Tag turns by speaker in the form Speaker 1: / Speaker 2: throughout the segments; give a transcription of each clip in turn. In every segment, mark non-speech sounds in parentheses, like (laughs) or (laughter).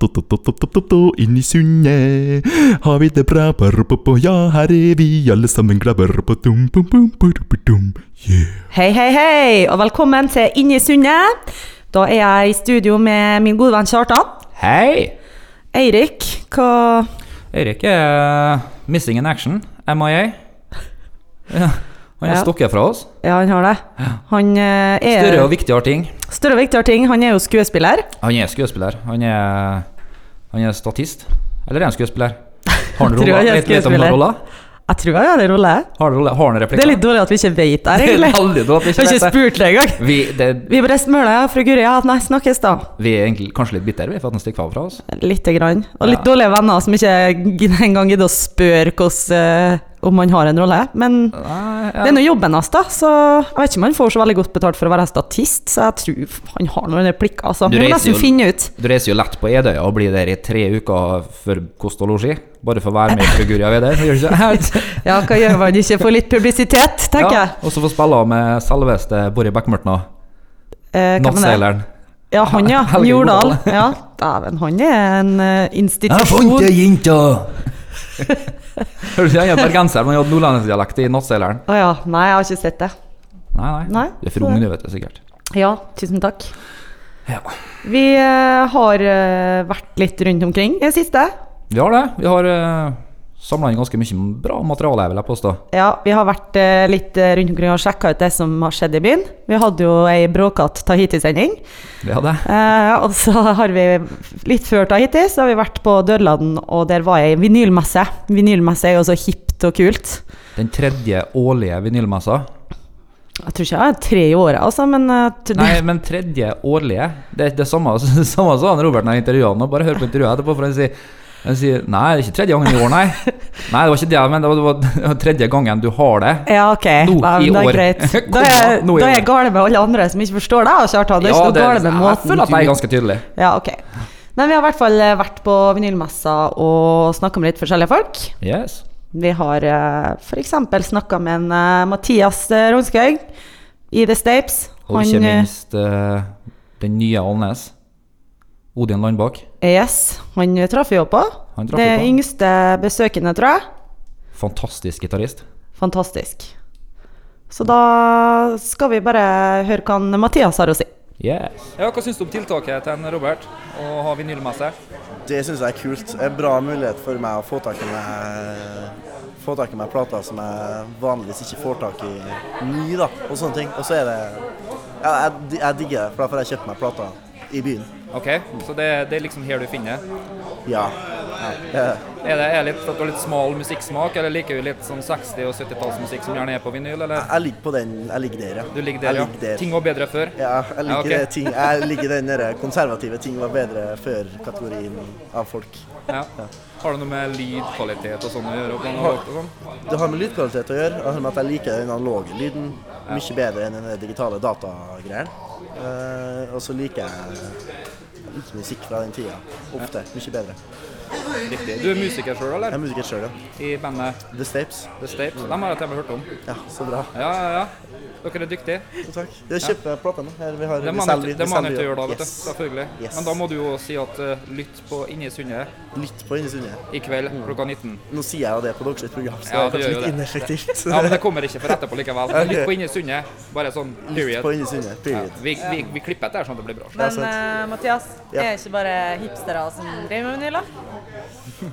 Speaker 1: Inn i sundet har vi det bra. Ja, her er vi alle sammen glade. Yeah.
Speaker 2: Hei, hei, hei, og velkommen til Inni sundet. Da er jeg i studio med min gode venn Kjartan.
Speaker 3: Hei!
Speaker 2: Eirik, hva
Speaker 3: Eirik er eh, missing in action, MIA. Ja, han er
Speaker 2: Ja.
Speaker 3: stukket fra oss.
Speaker 2: Ja, han har det. Han eh, er
Speaker 3: Større og viktigere ting.
Speaker 2: Større og viktigere ting. Han er jo skuespiller.
Speaker 3: Han er skuespiller. Han er, han er statist. Eller er han skuespiller? Har
Speaker 2: Jeg
Speaker 3: han
Speaker 2: tror
Speaker 3: roller?
Speaker 2: han er
Speaker 3: Vet vet om han
Speaker 2: skuespiller.
Speaker 3: har roller?
Speaker 2: Jeg tror han har en rolle.
Speaker 3: Har han roller? Har han
Speaker 2: Det er
Speaker 3: replikker?
Speaker 2: litt dårlig at vi ikke vet det, egentlig.
Speaker 3: veldig dårlig at
Speaker 2: Vi har
Speaker 3: vi ikke
Speaker 2: ikke
Speaker 3: vet det.
Speaker 2: spurt deg engang.
Speaker 3: Vi, det,
Speaker 2: Vi bare smøla, ja, fru Guri. Ja, nei, snakkes, da.
Speaker 3: vi er egentlig kanskje litt bitter vi, for at han stikker fra fra oss.
Speaker 2: Lite grann. Og litt
Speaker 3: Ja.
Speaker 2: dårlige venner som ikke gidder engang gidder å spørre oss eh, om han har en rolle. Men
Speaker 3: Nei,
Speaker 2: Det er nå jobben hans, da, så jeg vet ikke om han får så veldig godt betalt for å være statist, så jeg tror han har noen replikker, altså.
Speaker 3: Du
Speaker 2: Vi må
Speaker 3: reiser
Speaker 2: nesten
Speaker 3: jo-
Speaker 2: finne ut.
Speaker 3: Du reiser jo lett på Edøya og blir der i tre uker for kost og losji. Bare for å være med i Guria Vedøy. Gjør du ikke?
Speaker 2: (laughs) Ja, hva gjør man ikke for litt
Speaker 3: (laughs)
Speaker 2: publisitet, tenker
Speaker 3: Ja,
Speaker 2: jeg.
Speaker 3: og så få spille med selveste Borre Bekkmørtna.
Speaker 2: Eh, hvem er det?
Speaker 3: Nattseileren.
Speaker 2: Ja, han, ja.
Speaker 3: (laughs) Helge
Speaker 2: Jordal.
Speaker 3: Jordal.
Speaker 2: Ja, dæven, han er en eh, institusjon. Å
Speaker 3: jente! Hører du ikke? Han er bergenser, men han hadde nordlendingsdialekt i Nattseileren.
Speaker 2: ja. Nei, jeg har ikke sett det.
Speaker 3: Nei, nei.
Speaker 2: Nei,
Speaker 3: Du er for ung, du, vet du sikkert.
Speaker 2: Ja, tusen takk.
Speaker 3: Ja.
Speaker 2: Vi eh, har eh, vært litt rundt omkring i det siste.
Speaker 3: Vi har det. Vi har uh, samla inn ganske mye bra materiale, vil jeg påstå.
Speaker 2: Ja, vi har vært eh, litt eh, rundt omkring og sjekka ut det som har skjedd i byen. Vi hadde jo ei bråkete Tahiti-sending.
Speaker 3: Vi har det.
Speaker 2: Eh, og så har vi litt før da hittil, så har vi vært på Dødlanden, og der var jeg i vinylmesse. Vinylmesse er jo så hipt og kult.
Speaker 3: Den tredje årlige vinylmessa.
Speaker 2: Jeg tror ikke jeg er tre i året, altså, men eh, t-
Speaker 3: Nei, men tredje årlige Det er det samme (laughs) det samme sa han Robert når jeg intervjua han. og Bare hør på intervjuet etterpå, for han sier, han sier Nei, det er ikke tredje gangen i år, nei. Nei, det var ikke det, men det var, det var tredje gangen du har det.
Speaker 2: (laughs) Ja, ok.
Speaker 3: Nå
Speaker 2: Nei, men
Speaker 3: i
Speaker 2: det er
Speaker 3: år.
Speaker 2: greit.
Speaker 3: (laughs) Kom
Speaker 2: Da er,
Speaker 3: da, nå i
Speaker 2: da er jeg
Speaker 3: år.
Speaker 2: gal med alle andre som ikke forstår deg, Kjartan. Det er ikke noe galt med
Speaker 3: jeg
Speaker 2: måten
Speaker 3: føler at jeg er
Speaker 2: du-
Speaker 3: ganske tydelig.
Speaker 2: Ja, ok. Men vi har i hvert fall eh, vært på vinylmessa og snakka med litt forskjellige folk.
Speaker 3: Yes.
Speaker 2: Vi har eh, f.eks. snakka med en eh, Mathias eh, Rognskaug i The Stapes.
Speaker 3: Og ikke
Speaker 2: eh,
Speaker 3: minst eh, den nye Alnes. Odin Landbakk.
Speaker 2: Yes, han traff vi jo på.
Speaker 3: Han traff
Speaker 2: det
Speaker 3: vi på.
Speaker 2: yngste besøkende, tror jeg.
Speaker 3: Fantastisk gitarist.
Speaker 2: Fantastisk. Så da skal vi bare høre hva han Mathias har å si.
Speaker 3: Yes.
Speaker 4: Ja, Hva syns du om tiltaket til en Robert å ha vinylmesse?
Speaker 5: Det syns jeg er kult. En bra mulighet for meg å få tak i meg, få tak i meg plater som jeg vanligvis ikke får tak i ny, da, og sånne ting. Og så er det ja, jeg, jeg digger det, for da får jeg kjøpt meg plater i byen.
Speaker 4: Ok, Så det, det er liksom her du finner det.
Speaker 5: Ja. Ja.
Speaker 4: Er det er det litt for at du har litt smal musikksmak, eller liker du litt sånn 60- og 70-tallsmusikk som gjerne er på vinyl, eller?
Speaker 5: Jeg ligger på den. Jeg ligger der, ja.
Speaker 4: Du ligger der,
Speaker 5: jeg
Speaker 4: ja.
Speaker 5: ligger der.
Speaker 4: Ting var bedre før.
Speaker 5: ja, jeg liker
Speaker 4: Ja, ok.
Speaker 5: det ting, jeg liker den der konservative 'ting var bedre før'-kategorien av folk.
Speaker 4: Ja. Har det noe med lydkvalitet og sånn å gjøre? Og analogt og sånn?
Speaker 5: Det har med lydkvalitet å gjøre. Det har med at jeg liker den analoge lyden mye bedre enn den der digitale datagreien. Eh, og så liker jeg litt musikk fra den tida. Ofte. Mye bedre.
Speaker 4: Riktig. Du er musiker sjøl,
Speaker 5: Jeg
Speaker 4: eller?
Speaker 5: er musiker sjøl, ja.
Speaker 4: I bandet
Speaker 5: The Stapes.
Speaker 4: The Stapes? Dem har jeg til og med hørt om.
Speaker 5: Ja, så bra.
Speaker 4: Ja, ja, ja. Dere er dyktige.
Speaker 5: Jo, takk. Jeg kjøper platene. Her vi har
Speaker 4: Det
Speaker 5: vi
Speaker 4: må han ikke
Speaker 5: selger- vi
Speaker 4: det må han
Speaker 5: selger
Speaker 4: ikke
Speaker 5: jo.
Speaker 4: gjøre da, vet du.
Speaker 5: Yes.
Speaker 4: Selvfølgelig.
Speaker 5: Yes.
Speaker 4: Men da må du jo si at eh, lytt på Inni sundet
Speaker 5: Lytt på Inni Sundet.
Speaker 4: i kveld
Speaker 5: Mm.
Speaker 4: klokka 19.
Speaker 5: Nå sier jeg jo det på deres sitt program,
Speaker 4: Ja,
Speaker 5: så det er
Speaker 4: du
Speaker 5: kanskje
Speaker 4: gjør
Speaker 5: litt
Speaker 4: jo
Speaker 5: ineffektivt.
Speaker 4: Ja,
Speaker 5: (laughs)
Speaker 4: men det kommer ikke for etterpå likevel.
Speaker 5: Ok.
Speaker 4: Litt på Inni sundet. Bare sånn
Speaker 5: Lytt
Speaker 4: period.
Speaker 5: på Inni Sundet. Period.
Speaker 4: Vi, vi, vi klipper etter sånn at det blir bra.
Speaker 5: Ja, sant.
Speaker 2: eh, Mathias,
Speaker 5: Ja. er
Speaker 2: ikke bare hipstere som driver med vinyler?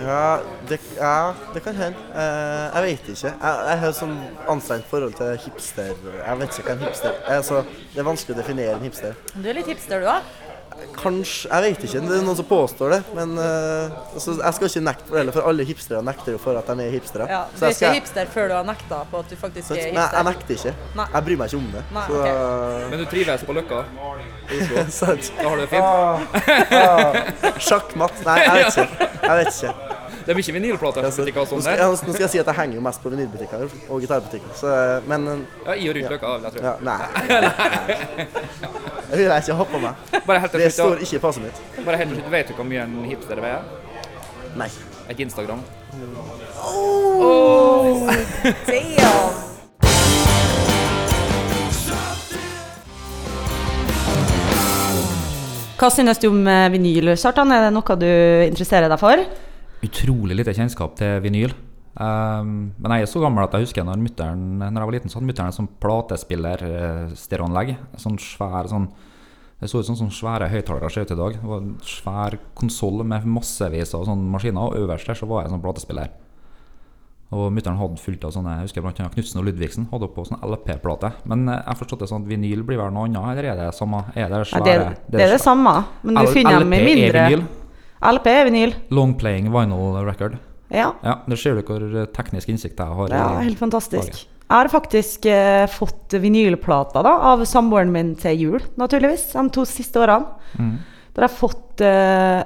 Speaker 5: Ja, det, ja, det kan hende. Eh, jeg vet ikke. Jeg, jeg har sånn anstrengt forhold til hipster. Jeg vet ikke hva en hipster er. Altså, det er vanskelig å definere en hipster.
Speaker 2: Du er litt hipster, du òg.
Speaker 5: Kanskje Jeg vet ikke. Det er noen som påstår det. Men eh, altså, jeg skal ikke nekte for det heller, for alle hipstere nekter jo for at de er hipstere. Så jeg skal-
Speaker 2: hipster før du har nekta på at du faktisk
Speaker 5: så- Men jeg, jeg nekter ikke.
Speaker 2: Nei.
Speaker 5: Jeg bryr meg ikke om det.
Speaker 2: Nei,
Speaker 5: (laughs) så
Speaker 4: Men du trives på Løkka?
Speaker 5: Sant.
Speaker 4: Da har du det fint?
Speaker 5: Ah, ah, Sjakkmatt. Nei, jeg vet ikke. Jeg vet ikke.
Speaker 4: Det er mye vinylplater
Speaker 5: Altså,
Speaker 4: som butikker og
Speaker 5: nå,
Speaker 4: sånn
Speaker 5: skal,
Speaker 4: der.
Speaker 5: ja, nå skal jeg si at jeg henger jo mest på vinylbutikker og gitarbutikker, så, men
Speaker 4: Ja, i og rundt Løkka, vil jeg tro.
Speaker 5: ja, (laughs) nei. Det vil jeg ikke ha på meg.
Speaker 4: Bare helt til
Speaker 5: Det
Speaker 4: slutt,
Speaker 5: står ikke i passet mitt.
Speaker 4: ja. Bare helt til slutt. Vet du hvor mye en hipster veier?
Speaker 5: Nei.
Speaker 4: Et Instagram.
Speaker 2: Hva synes du om eh, vinyl, Kjartan? Er det noe du interesserer deg for?
Speaker 6: Utrolig lite kjennskap til vinyl. Ehm, men jeg er så gammel at jeg husker når, mutteren, når jeg var liten, så hadde mutter'n en sånn eh, platespiller-stereoanlegg. Sånn svær sånn Det så ut som sånne svære høyttalere ser ut i dag. Det var en svær konsoll med massevis av sånne maskiner, og øverst der så var det en sånn platespiller. Og mutter'n hadde fullt av sånne jeg husker blant annet Knutsen og Ludvigsen hadde på sånn LP-plate. Men eh, jeg forstod det sånn at vinyl blir vel noe annet, eller er det samme? Er det
Speaker 2: Ja,
Speaker 6: svære
Speaker 2: det, det er det samme, men du
Speaker 6: L-
Speaker 2: finner dem i
Speaker 6: LP er
Speaker 2: mindre.
Speaker 6: vinyl.
Speaker 2: LP er vinyl.
Speaker 6: Long playing vinyl record.
Speaker 2: Ja.
Speaker 6: Ja, Der ser du hvor eh, teknisk innsikt jeg har. i-
Speaker 2: ja, helt fantastisk.
Speaker 6: faget.
Speaker 2: Jeg har faktisk eh, fått vinylplater da, av samboeren min til jul, naturligvis, de to siste årene.
Speaker 6: Mm.
Speaker 2: Da har jeg fått eh,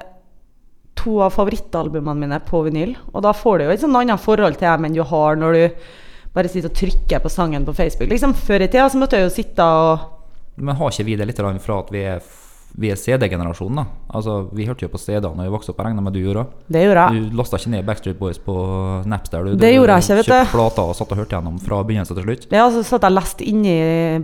Speaker 2: to av favorittalbumene mine på vinyl. Og da får du jo et sånn annet forhold til dem enn du har når du bare sitter og trykker på sangen på Facebook. Liksom Før i tida så måtte jeg jo sitte og
Speaker 6: Men har ikke vi det litt grann fra at vi er, f- vi er CD-generasjonen, da? Altså, Vi hørte jo på CD-er når vi vokste opp, jeg regner med du gjorde òg?
Speaker 2: Det gjorde jeg.
Speaker 6: Du lasta ikke ned Backstreet Boys på Napster? Du,
Speaker 2: Det
Speaker 6: du
Speaker 2: gjorde jeg ikke, vet
Speaker 6: kjøpte
Speaker 2: du.
Speaker 6: plater og satt og hørte gjennom fra begynnelse til slutt?
Speaker 2: Det er altså så at jeg leste inni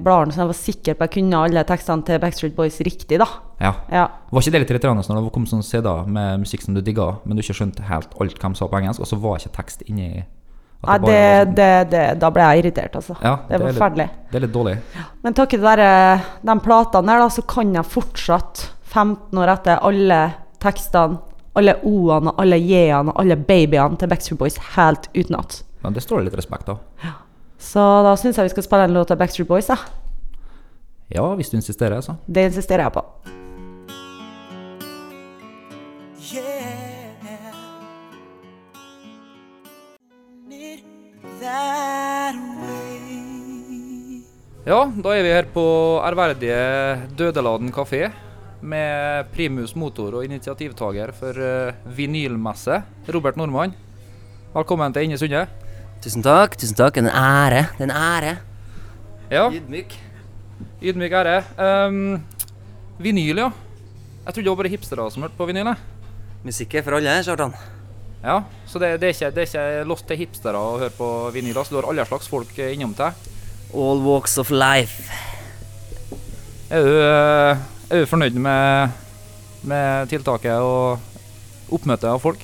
Speaker 2: bladene, så jeg var sikker på at jeg kunne alle tekstene til Backstreet Boys riktig, da.
Speaker 6: Ja.
Speaker 2: Ja.
Speaker 6: Var ikke det litt irriterende når det kom sånne CD-er med musikk som du digga, men du ikke skjønte helt alt hvem sa på engelsk, og så var ikke tekst inni at
Speaker 2: Nei,
Speaker 6: bare
Speaker 2: det,
Speaker 6: var sånn-
Speaker 2: det, det, da ble jeg irritert, altså.
Speaker 6: Ja,
Speaker 2: det er
Speaker 6: litt-
Speaker 2: forferdelig.
Speaker 6: Det er litt dårlig.
Speaker 2: Men takket være eh, de platene der, da, så kan jeg fortsatt, 15 år etter, alle tekstene, alle O-ene, alle J-ene, alle babyene til Backstreet Boys helt utenat.
Speaker 6: Men det står det litt respekt av.
Speaker 2: Så da syns jeg vi skal spille en låt av Backstreet Boys, da.
Speaker 6: Ja, hvis du insisterer, så.
Speaker 2: Det insisterer jeg på.
Speaker 7: Yeah. It that way.
Speaker 3: Ja, da er vi her på ærverdige Dødeladen kafé med primus motor og initiativtaker for eh, vinylmesse, Robert Nordmann. Velkommen til Inne Sunde.
Speaker 8: Tusen takk. tusen takk. En ære. Det er en ære.
Speaker 3: Ja,
Speaker 8: Ydmyk.
Speaker 3: ydmyk ære. Ehm, vinyl, ja. Jeg trodde det var bare hipstere som hørte på vinyl. jeg.
Speaker 8: Musikk er for alle, Kjartan.
Speaker 3: Ja, så det, det, er ikke, det er ikke lost til hipstere å høre på vinyl. altså. Du har alle slags folk eh, innom deg.
Speaker 8: All walks of life.
Speaker 3: Er du, eh, er du fornøyd med, med tiltaket og oppmøtet av folk?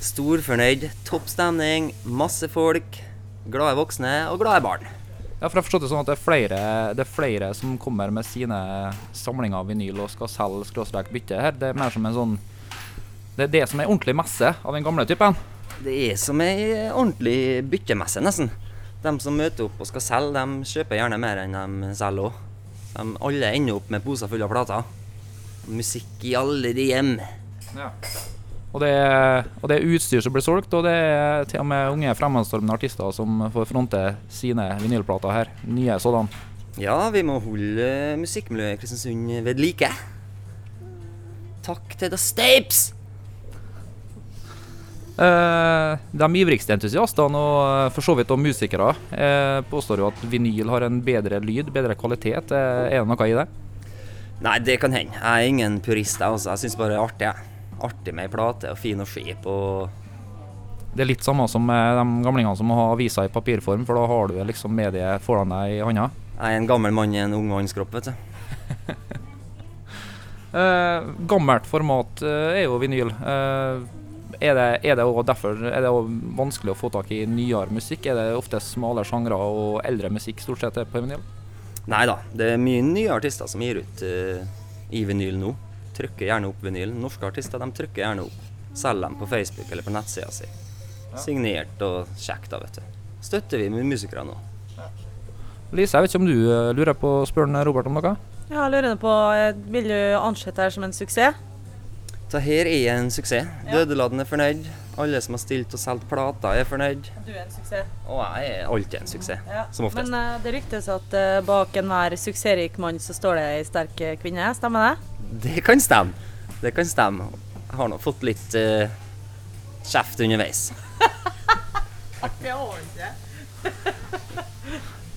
Speaker 8: Stor fornøyd, topp stemning, masse folk. Glade voksne og glade barn.
Speaker 3: Ja, for jeg har forstått det sånn at det er flere, det er flere som kommer med sine samlinger av vinyl og skal selge skråstrek bytte her. Det er mer som en sånn Det er det som er ordentlig messe av den gamle typen.
Speaker 8: Det er som ei ordentlig byttemesse, nesten. De som møter opp og skal selge, de kjøper gjerne mer enn de selger òg. De alle ender opp med poser fulle av plater. Musikk i alle de hjem.
Speaker 3: Og det, er, og det er utstyr som blir solgt, og det er til og med unge fremadstormende artister som får fronte sine vinylplater her. Nye sådan.
Speaker 8: Ja, vi må holde musikkmiljøet i Kristiansund ved like. Takk til The Stapes!
Speaker 3: Eh, de ivrigste entusiastene, og eh, for så vidt også musikere, eh, påstår jo at vinyl har en bedre lyd, bedre kvalitet. Eh, er det noe i det?
Speaker 8: Nei, det kan hende. Jeg er ingen purist, jeg altså. Jeg syns bare det er artig. jeg. Artig med ei plate og fin å se på.
Speaker 3: Det er litt samme som eh, de gamlingene som har aviser i papirform, for da har du liksom mediet foran deg i handa.
Speaker 8: Jeg er en gammel mann i en ung manns kropp, vet du.
Speaker 3: Eh, gammelt format eh, er jo vinyl. Eh, er det, er det også derfor er det også vanskelig å få tak i nyere musikk? Er det ofte smale sjangre og eldre musikk stort sett er på vinyl?
Speaker 8: Nei da, det er mye nye artister som gir ut eh, i vinyl nå. Trykker gjerne opp vinyl. Norske artister de trykker gjerne opp. Selger dem på Facebook eller på nettsida si. Signert og kjekt, da, vet du. Støtter vi med musikere nå.
Speaker 3: Lise, jeg vet ikke om du eh, lurer på å spørre Robert om noe?
Speaker 9: Ja, jeg lurer på, eh, Vil du ansette dette som en suksess?
Speaker 8: Så her er en suksess. Dødeladen er fornøyd. Alle som har stilt og solgt plater, er fornøyd.
Speaker 9: Du er en suksess.
Speaker 8: Og jeg er alltid en suksess. Som oftest.
Speaker 9: Men eh, det ryktes at eh, bak enhver suksessrik mann så står det ei sterk eh, kvinne, stemmer det?
Speaker 8: Det kan stemme. Det kan stemme. Jeg har nå fått litt eh, kjeft underveis.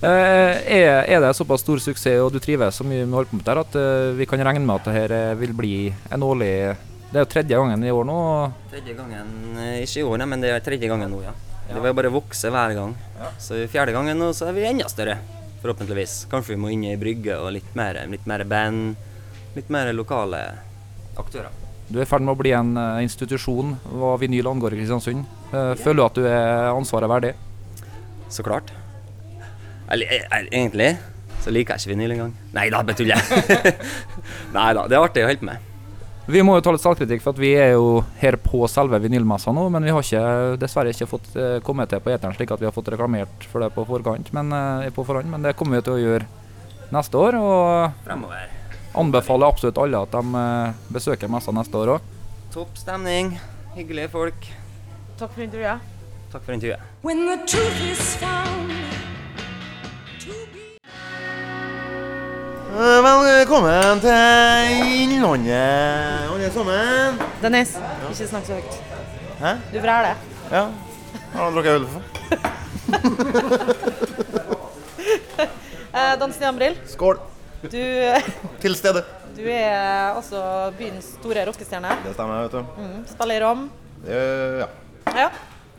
Speaker 3: Eh, er, er det såpass stor suksess og du trives så mye med å holde på med det her, at eh, vi kan regne med at det her eh, vil bli en årlig Det er jo tredje gangen i år nå. og
Speaker 8: Tredje gangen eh, Ikke i år, nei, men det er tredje gangen nå, ja. Det vil bare vokse hver gang. Så i fjerde gangen nå så er vi enda større. Forhåpentligvis. Kanskje vi må inn i brygge og litt mer, litt mer band. Litt mer lokale aktører.
Speaker 10: Du er i ferd med å bli en eh, institusjon hva vinyl angår i Kristiansund. Eh, Føler du at du er ansvaret verdig?
Speaker 8: Så klart. Eller e- e- egentlig så liker jeg ikke vinyl engang. Nei da, bare tuller (laughs) jeg. Nei da, det er artig å holde på med.
Speaker 10: Vi må jo ta litt selvkritikk, for at vi er jo her på selve vinylmessa nå, men vi har ikke, dessverre ikke fått eh, kommet til på eteren slik at vi har fått reklamert for det på forkant, men, eh, på forhånd, men det kommer vi til å gjøre neste år. Og
Speaker 8: Fremover.
Speaker 10: anbefaler absolutt alle at de eh, besøker messa neste år òg.
Speaker 8: Topp stemning, hyggelige folk.
Speaker 2: Takk for intervjuet.
Speaker 8: Takk for intervjuet.
Speaker 7: When the truth is found to be
Speaker 11: Eh, Velkommen til Innlandet, alle sammen.
Speaker 2: Dennis, ikke snakk så høyt.
Speaker 11: Hæ?
Speaker 2: Du vræler.
Speaker 11: Ja. Har dere drukket øl for?
Speaker 2: Eh, Dan Stian Brill,
Speaker 11: Skål.
Speaker 2: du, (laughs)
Speaker 11: Til stede.
Speaker 2: du er altså byens store rockestjerne.
Speaker 11: Det stemmer, vet du.
Speaker 2: Spiller i Rom.
Speaker 11: Eh, ja.
Speaker 2: Ja.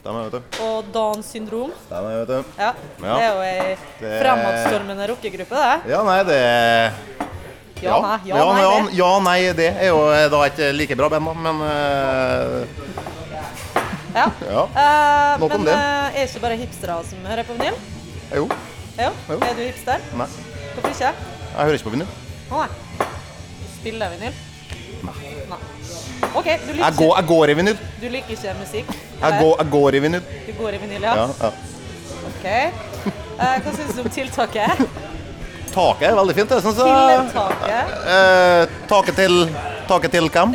Speaker 11: Stemmer, vet du.
Speaker 2: Og Downs syndrom.
Speaker 11: Stemmer, vet du.
Speaker 2: Ja.
Speaker 11: Ja.
Speaker 2: Det er jo ei
Speaker 11: Det-
Speaker 2: fremadstormende rockegruppe, det.
Speaker 11: Ja, nei, det
Speaker 2: Ja, nei, ja,
Speaker 11: ja,
Speaker 2: nei,
Speaker 11: ja,
Speaker 2: det.
Speaker 11: ja, nei, det er jo eh, da et eh, like bra band, da, men eh,
Speaker 2: Ja.
Speaker 11: Ja.
Speaker 2: Eh,
Speaker 11: Nok om
Speaker 2: men
Speaker 11: det.
Speaker 2: eh, er ikke bare hipstere som hører på vinyl?
Speaker 11: Jo.
Speaker 2: Jo.
Speaker 11: Jo.
Speaker 2: Er du hipster?
Speaker 11: Nei.
Speaker 2: Hvorfor ikke?
Speaker 11: Jeg hører ikke på vinyl.
Speaker 2: Å nei. Spiller vinyl? Nei. OK, du
Speaker 11: Jeg
Speaker 2: liker,
Speaker 11: går,
Speaker 2: ikke,
Speaker 11: jeg går i vinyl.
Speaker 2: du liker ikke musikk?
Speaker 11: Jeg
Speaker 2: eller?
Speaker 11: går, jeg går i vinyl.
Speaker 2: Du går i vinyl,
Speaker 11: Ja,
Speaker 2: ja?
Speaker 11: ja.
Speaker 2: OK. Eh, hva syns du om tiltaket?
Speaker 11: Taket er veldig fint, jeg syns jeg.
Speaker 2: Tiltaket?
Speaker 11: Eh, taket til Taket til hvem?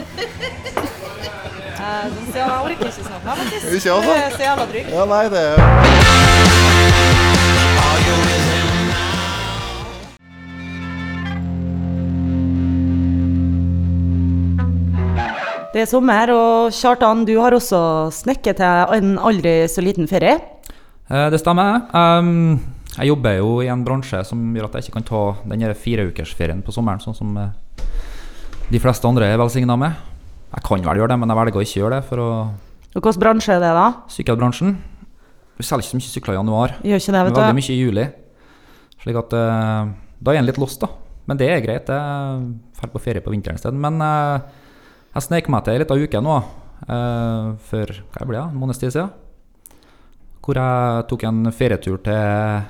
Speaker 2: Eh, den sier han orker ikke snakke om det.
Speaker 11: Ikke altså?
Speaker 2: Det er så jævla drygt.
Speaker 11: Ja, nei, det er
Speaker 12: Det er sommer, og Kjartan, du har også snekket til en aldri så liten ferie.
Speaker 3: Eh, Det stemmer. Ehm, jeg jobber jo i en bransje som gjør at jeg ikke kan ta den her fireukersferien på sommeren, sånn som eh, de fleste andre er velsigna med. Jeg kan vel gjøre det, men jeg velger å ikke gjøre det for å
Speaker 12: Og hvilken bransje er det, da?
Speaker 3: sykkelbransjen. Vi selger ikke så mye sykler i januar,
Speaker 12: Gjør ikke det,
Speaker 3: men
Speaker 12: vet du.
Speaker 3: veldig mye i juli. Slik at eh, da er en litt lost, da. Men det er greit. Jeg drar på ferie på vinteren i stedet. Men eh, jeg snek meg til ei lita uke nå, eh, for hva blir det, en måneds tid siden. Hvor jeg tok en ferietur til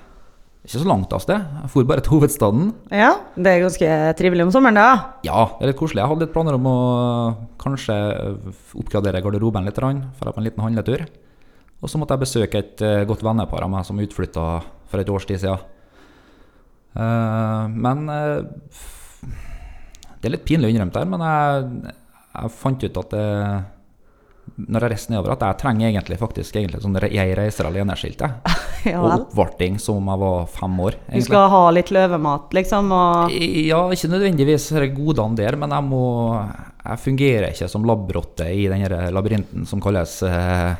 Speaker 3: ikke så langt av sted. Jeg for bare til hovedstaden.
Speaker 12: Ja, det er ganske trivelig om sommeren,
Speaker 2: (laughs)
Speaker 12: da.
Speaker 3: Ja, det er litt koselig. Jeg hadde litt planer om å eh, kanskje eh, oppgradere garderoben litt, for på en liten handletur. Og så måtte jeg besøke et eh, godt vennepar av meg som utflytta for et års tid siden. Eh, men eh, f- Det er litt pinlig å innrømme det, her, men jeg, jeg fant ut at eh, når jeg reiste nedover, at jeg trenger egentlig faktisk egentlig sånn re- jeg reiser alene-skilt. jeg.
Speaker 12: Ja
Speaker 3: Og
Speaker 12: vel.
Speaker 3: oppvarting som om jeg var fem år.
Speaker 12: Du
Speaker 3: egentlig.
Speaker 12: skal ha litt løvemat, liksom, og
Speaker 3: Ja, ikke nødvendigvis de godene der, men jeg må Jeg fungerer ikke som labbrotte i den her labyrinten som kalles eh,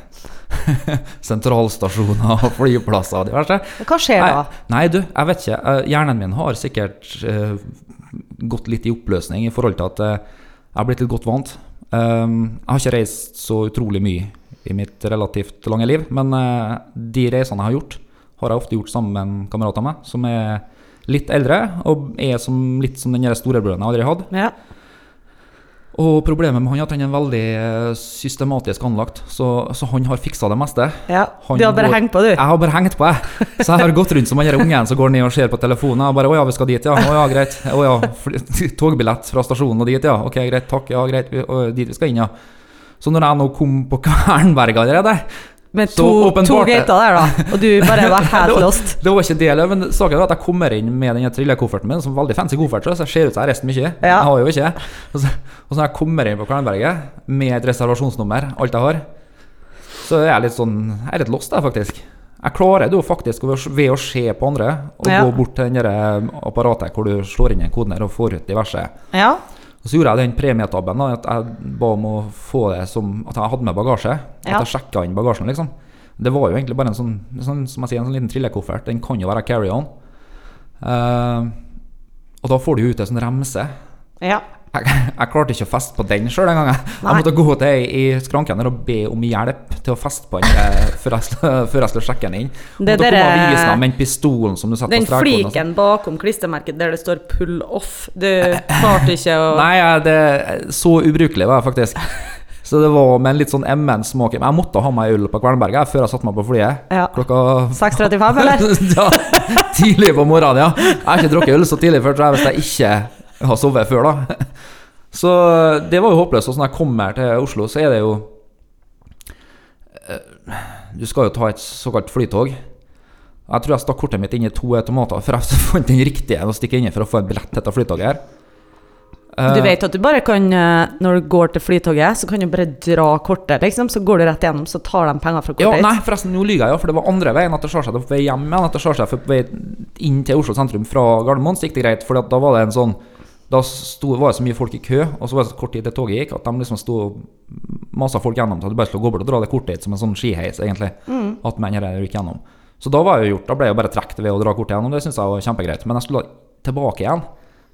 Speaker 3: sentralstasjoner og flyplasser og diverse.
Speaker 12: Hva skjer da?
Speaker 3: Nei, nei, du, jeg vet ikke. Eh, Hjernen min har sikkert eh, gått litt i oppløsning i forhold til at eh, jeg har blitt litt godt vant. Um, jeg har ikke reist så utrolig mye i mitt relativt lange liv, men eh, de reisene jeg har gjort, har jeg ofte gjort sammen med en kamerat av meg som er litt eldre, og er som, litt som den der storebroren jeg aldri hadde.
Speaker 12: Ja.
Speaker 3: Og problemet med han er at han er veldig eh, systematisk anlagt, så, så han har fiksa det meste.
Speaker 12: ja.
Speaker 3: Han
Speaker 12: Du har bare
Speaker 3: går-
Speaker 12: hengt på, du.
Speaker 3: Jeg har bare hengt på, jeg. Så jeg har gått rundt som den der ungen som går ned og ser på telefonen. Jeg bare 'Å ja, vi skal dit, ja. Å ja, greit. Å ja, fly- (laughs) togbillett fra stasjonen og dit, ja. Ok, greit, takk. Ja, greit. Vi- å, dit vi skal inn, ja. Så når jeg nå kom på Kvernberg allerede
Speaker 12: Med
Speaker 3: så
Speaker 12: to, to
Speaker 3: åpenbart-
Speaker 12: gater der, da. Og du bare
Speaker 2: (laughs)
Speaker 12: var helt lost.
Speaker 3: Det var ikke det, eller, men saken er at jeg kommer inn med den her trillekofferten min, som er veldig fancy koffert, så jeg ser ut som jeg har reist mye.
Speaker 12: Ja.
Speaker 3: Jeg har jo ikke. Og så, og så når jeg kommer inn på Kvernberget med et reservasjonsnummer, alt jeg har, så er jeg litt sånn Jeg er litt lost, jeg, faktisk. Jeg klarer det jo faktisk ved å- ved å se på andre og
Speaker 12: Ja.
Speaker 3: gå bort til den der eh, apparatet hvor du slår inn en kode der og får ut diverse.
Speaker 12: Ja.
Speaker 3: Og så gjorde jeg den premietabben da, at jeg ba om å få det som at jeg hadde med bagasje. At
Speaker 12: Ja.
Speaker 3: jeg sjekka inn bagasjen, liksom. Det var jo egentlig bare en sånn, en sånn som jeg sier, en sånn liten trillekoffert. Den kan jo være carry-on. Eh, og da får du jo ut en sånn remse.
Speaker 12: ja.
Speaker 3: Jeg, jeg klarte ikke å feste på den sjøl engang. Jeg. jeg måtte gå til ei i skranken der og be om hjelp til å feste på den eh, før jeg skulle- (laughs) før jeg skulle sjekke den inn.
Speaker 7: Det
Speaker 3: måtte
Speaker 7: der
Speaker 3: komme
Speaker 7: er-
Speaker 3: avisen av den pistolen som du setter
Speaker 7: Den
Speaker 3: på strekkoden. og sånn.
Speaker 2: altså.
Speaker 7: fliken bakom klistremerket der det står 'pull off', du klarte ikke å
Speaker 3: Nei, jeg- det så ubrukelig var jeg faktisk. Så det var med en litt sånn emmen smak Jeg måtte ha meg øl på Kvernberget jeg, før jeg satte meg på flyet.
Speaker 2: Ja.
Speaker 3: Klokka
Speaker 2: 6.35, (laughs)
Speaker 3: (laughs)
Speaker 2: eller?
Speaker 3: ja, tidlig på morgenen, ja. Jeg har ikke drukket øl så tidlig før, tror jeg, hvis jeg ikke har sovet før, da. (laughs) Så det var jo håpløst. Og så når jeg kommer til Oslo, så er det jo eh, Du skal jo ta et såkalt flytog. Jeg tror jeg stakk kortet mitt inn i to automater før jeg fant den riktige å stikke inn i for å få en billett til dette flytoget her. Eh,
Speaker 2: Du vet at du bare kan, eh, når du går til flytoget, så kan du bare dra kortet, liksom. Så går du rett igjennom, så tar de penger fra
Speaker 3: Ja,
Speaker 2: kortet
Speaker 3: nei,
Speaker 2: ditt.
Speaker 3: forresten, nå lyver jeg, ja, for det var andre veien at det skar seg på vei hjem igjen. At det skar seg på vei inn til Oslo sentrum fra Gardermoen, så gikk det greit. For da var det en sånn Da sto, var det så mye folk i kø, og så var det så kort tid til toget gikk, at de liksom sto og masa folk gjennom til at de bare skulle gå bort og dra det kortet hit som en sånn skiheis, egentlig. At menn her gikk gjennom. Så da var jeg jo gjort, da ble jeg jo bare trukket ved å dra kortet gjennom, det syns jeg var kjempegreit. Men jeg skulle da tilbake igjen,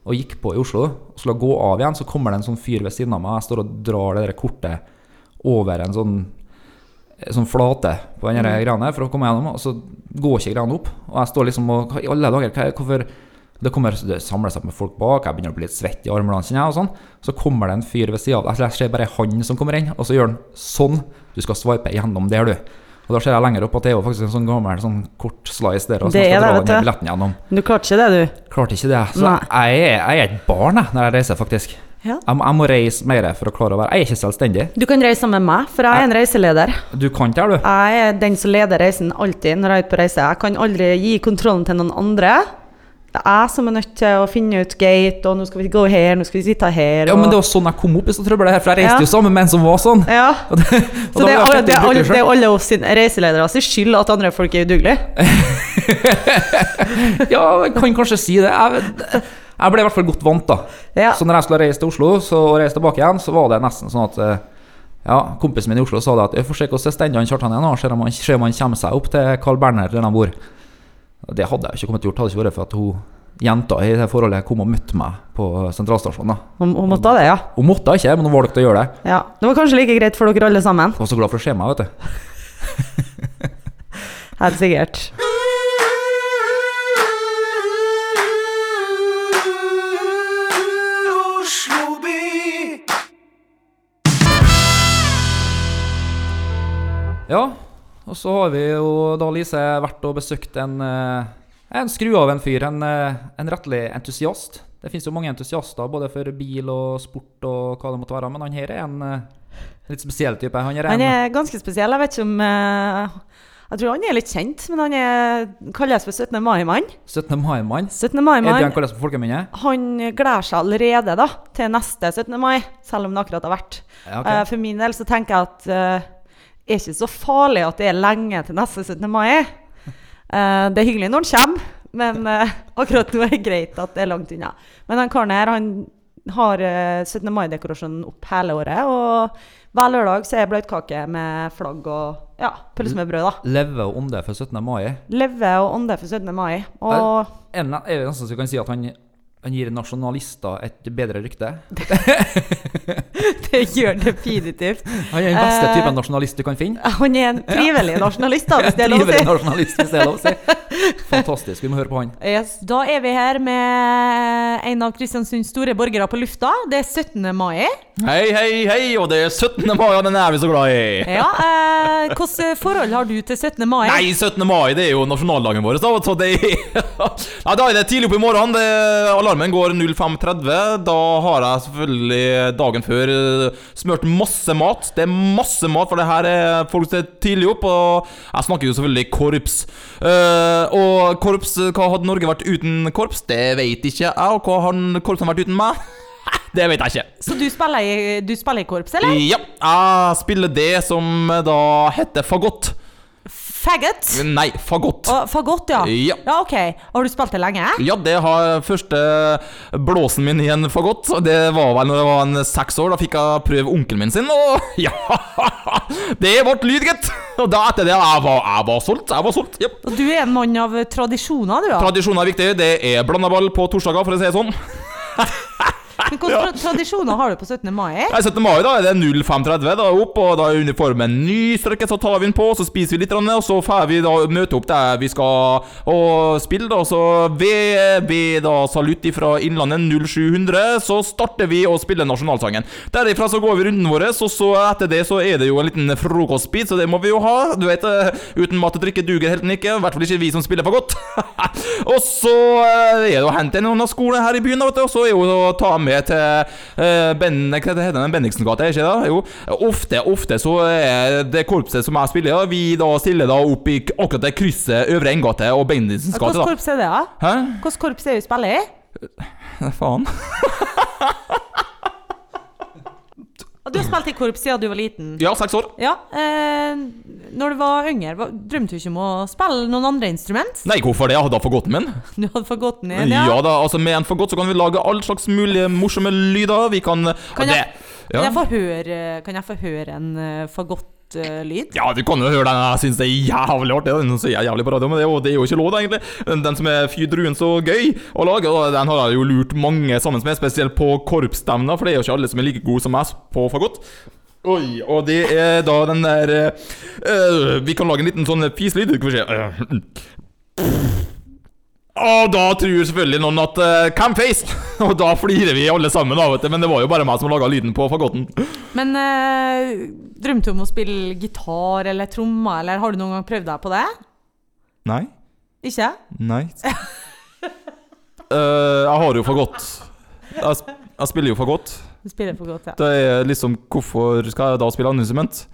Speaker 3: og gikk på i Oslo, og skulle gå av igjen, så kommer det en sånn fyr ved siden av meg, jeg står og drar det der kortet over en sånn sånn flate på den mm. greia for å komme gjennom, og så går ikke greiene opp. Og jeg står liksom og hva I alle dager, hva, hvorfor Det kommer det samler seg opp med folk bak, jeg begynner å bli litt svett i armene hans, jeg, og sånn. Så kommer det en fyr ved sida av deg, jeg ser bare han som kommer inn, og så gjør han sånn. Du skal swipe gjennom der, du. Og da ser jeg lenger opp at det er jo faktisk en sånn gammel sånn kort slice der, og så
Speaker 2: Det
Speaker 3: skal
Speaker 2: er
Speaker 3: dra
Speaker 2: det,
Speaker 3: den der
Speaker 2: vet du.
Speaker 3: billetten gjennom.
Speaker 2: Du klarte ikke det, du.
Speaker 3: Klarte ikke det. Så
Speaker 2: Nei.
Speaker 3: jeg er, jeg er et barn jeg, når jeg reiser, faktisk.
Speaker 2: Ja.
Speaker 3: Jeg, må- jeg må reise mer for å klare å være Jeg er ikke selvstendig.
Speaker 2: Du kan reise sammen med meg, for jeg er en reiseleder.
Speaker 3: Du kan ikke det, du.
Speaker 2: Jeg er den som leder reisen alltid når jeg er ute på reise. Jeg kan aldri gi kontrollen til noen andre. Det er jeg som er nødt til å finne ut gate, og nå skal vi gå her, nå skal vi sitte her.
Speaker 3: Ja, men det
Speaker 2: og-
Speaker 3: var sånn jeg kom opp i så trøbbel her, for jeg
Speaker 2: Ja.
Speaker 3: reiste jo sammen med en som var sånn.
Speaker 2: ja.
Speaker 3: (laughs) Og det, og
Speaker 2: Så
Speaker 3: da
Speaker 2: det er,
Speaker 3: var
Speaker 2: alle,
Speaker 3: jeg
Speaker 2: det, er
Speaker 3: slett
Speaker 2: alle,
Speaker 3: litt
Speaker 2: det er
Speaker 3: utrolig
Speaker 2: alle oss sin reiseledere sin skyld at andre folk er udugelige.
Speaker 3: selv. Ja, jeg kan kanskje si det. Jeg, jeg ble i hvert fall godt vant, da.
Speaker 2: Ja.
Speaker 3: Så når jeg skulle reise til Oslo så, og reise tilbake igjen, så var det nesten sånn at eh, ja, Kompisen min i Oslo sa det at jeg får se hvordan det stender han Kjartan igjen, og ser om han, ser om han kommer seg opp til Carl Berner der han bor. Og Det hadde jeg jo ikke kommet til å gjort, hadde det ikke vært for at hun jenta i det forholdet kom og møtte meg på sentralstasjonen. da.
Speaker 2: Hun hun måtte ha det, ja.
Speaker 3: Hun måtte ikke, men hun valgte å gjøre det.
Speaker 2: ja. Det var kanskje like greit for dere alle sammen.
Speaker 3: Hun var så glad for å se meg, vet du.
Speaker 2: Helt sikkert.
Speaker 13: Oslo by.
Speaker 3: Ja, og så har vi jo da Lise vært og besøkt en, eh, en skru av en fyr, en, eh, en rettelig entusiast. Det finnes jo mange entusiaster både for bil og sport og hva det måtte være, men han her er en eh, litt spesiell type. Han er en,
Speaker 2: Han er ganske spesiell. Jeg vet ikke om eh, Jeg tror han er litt kjent, men han er, kalles for 17. mai-mann.
Speaker 3: 17. mai-mann.
Speaker 2: 17.
Speaker 3: Er det
Speaker 2: mai-mann.
Speaker 3: han kalles på folkemunne?
Speaker 2: han gleder seg allerede da, til neste 17. mai, selv om det akkurat har vært.
Speaker 3: Ja, ok.
Speaker 2: Eh, For min del så tenker jeg at eh, det er ikke så farlig at det er lenge til neste 17.
Speaker 3: (laughs)
Speaker 2: mai. Eh, det er hyggelig når han kommer, men eh, (laughs) akkurat nå er det greit at det er langt unna. Men han karen her, han har eh, 17. mai-dekorasjonen opp hele året, og hver lørdag så er det bløtkake med flagg og ja,
Speaker 3: Mm.
Speaker 2: pølse med brød, da.
Speaker 3: Leve og ånde for 17. mai.
Speaker 2: Leve og ånde for 17. mai. Og (laughs)
Speaker 3: Er det ne- er det nesten så vi kan si at han, han gir nasjonalister et bedre rykte?
Speaker 2: det gjør definitivt.
Speaker 3: Han er den beste
Speaker 2: Eh,
Speaker 3: typen nasjonalist du kan finne.
Speaker 2: Han er en trivelig nasjonalist, da, hvis det er lov å
Speaker 3: Trivelig
Speaker 2: si.
Speaker 3: nasjonalist, hvis det er lov å si. Fantastisk. Vi må høre på han.
Speaker 2: Yes.
Speaker 7: Da er vi her
Speaker 2: Eh,
Speaker 7: med en av Kristiansunds store borgere på lufta. Det er 17. mai.
Speaker 14: Hei, hei, hei, og det er 17. mai, og den er vi så glad i.
Speaker 7: Ja, eh, Hvilket forhold har du til 17. mai?
Speaker 14: Nei, 17. mai det er jo nasjonaldagen vår, da. Så det (laughs) er... ja, da er det tidlig opp i morgen. Det... Alarmen går 05.30. Da har jeg selvfølgelig dagen før eh, smurt masse mat. Det er masse mat, for det her er folk som er tidlig opp, og jeg snakker jo selvfølgelig korps. Eh, og korps, hva hadde Norge vært uten korps? Det vet ikke jeg. Og hva har korpsene vært uten meg? (laughs) Det vet jeg ikke.
Speaker 7: Så du spiller, i, du spiller i korps, eller?
Speaker 14: Ja, jeg spiller det som eh, da heter fagott.
Speaker 7: Faggot?
Speaker 14: Nei, fagott.
Speaker 7: Og fagott, ja.
Speaker 14: Ja.
Speaker 7: ja. OK. Har du spilt det lenge?
Speaker 14: Ja, det har første blåsen min i en fagott. Det var vel når jeg var en seks år. Da fikk jeg prøve onkelen min sin, og (laughs) ja Det ble lyd, gitt! Og da etter det Jeg var, jeg var solgt. Jeg var solgt. Ja.
Speaker 7: Og du er en mann av tradisjoner, du. da.
Speaker 14: Tradisjoner er viktig. Det er blandaball på torsdager, for å si det sånn.
Speaker 7: Men
Speaker 2: Hvilke tradisjoner har du på 17. mai?
Speaker 14: Nei, 17. mai, da er det 05.30. Da er opp, og da er uniformen nystrøket, så tar vi den på, så spiser vi litt, grann, og så får vi da møte opp der vi skal og spille, da. Så ved, ved da salutt fra Innlandet 0700, så starter vi å spille nasjonalsangen. Derifra så går vi runden vår, og så etter det så er det jo en liten frokostbit, så det må vi jo ha. Du vet, eh, uten mat og drikke duger helten ikke, i hvert fall ikke vi som spiller for godt. (laughs) og så eh, er det å hente noen av skolene her i byen, da, vet du, og så er jo å ta med til eh, ben, hva heter det, den Bendiksen-gata, er ikke det? Jo. Ofte, ofte så er det korpset som jeg spiller, da, vi da stiller da opp i k- akkurat det krysset Øvre Enggate og Bendiksens gate,
Speaker 2: Hvilket
Speaker 14: da.
Speaker 2: korps er det, da?
Speaker 14: Hæ?
Speaker 2: Hvilket korps er det du spiller i?
Speaker 14: Faen.
Speaker 2: Og Du har spilt i korps siden du var liten.
Speaker 14: Ja, seks år.
Speaker 2: Ja, eh, når du var yngre, hva- drømte du ikke om å spille noen andre instrument?
Speaker 14: Nei, hvorfor det? Jeg hadde da forgotten min.
Speaker 2: Du hadde fått gått ned,
Speaker 14: Ja. da, altså med en forgått så kan vi lage all slags mulige morsomme lyder. Vi kan
Speaker 2: Kan
Speaker 14: det-
Speaker 2: jeg,
Speaker 14: ja.
Speaker 2: kan jeg få høre, kan jeg få høre en eh, fagott-lyd?
Speaker 14: Ja, du kan jo høre den. Jeg syns det er jævlig artig. Den sier jeg jævlig på radio, men det er jo, det er jo ikke lov, da, egentlig. Den, den som er Fy druen så gøy å lage, og den har jeg jo lurt mange sammen med, spesielt på korpsstevna, for det er jo ikke alle som er like gode som meg på fagott. Oi, og det er da den der eh, eh, Vi kan lage en liten sånn fislyd. Skal vi se. eh, Og da tror selvfølgelig noen at uh, Camface! (laughs) Og da flirer vi alle sammen, da, vet du. Men det var jo bare meg som laga lyden på fagotten.
Speaker 2: Men eh, drømte du om å spille gitar eller trommer, eller har du noen gang prøvd deg på det?
Speaker 14: Nei.
Speaker 2: Ikke?
Speaker 14: Nei. Eh, jeg har jo for godt. Jeg, sp jeg spiller jo for godt.
Speaker 2: Du spiller fagott, ja.
Speaker 14: Det er liksom Hvorfor skal jeg da spille andre instrument?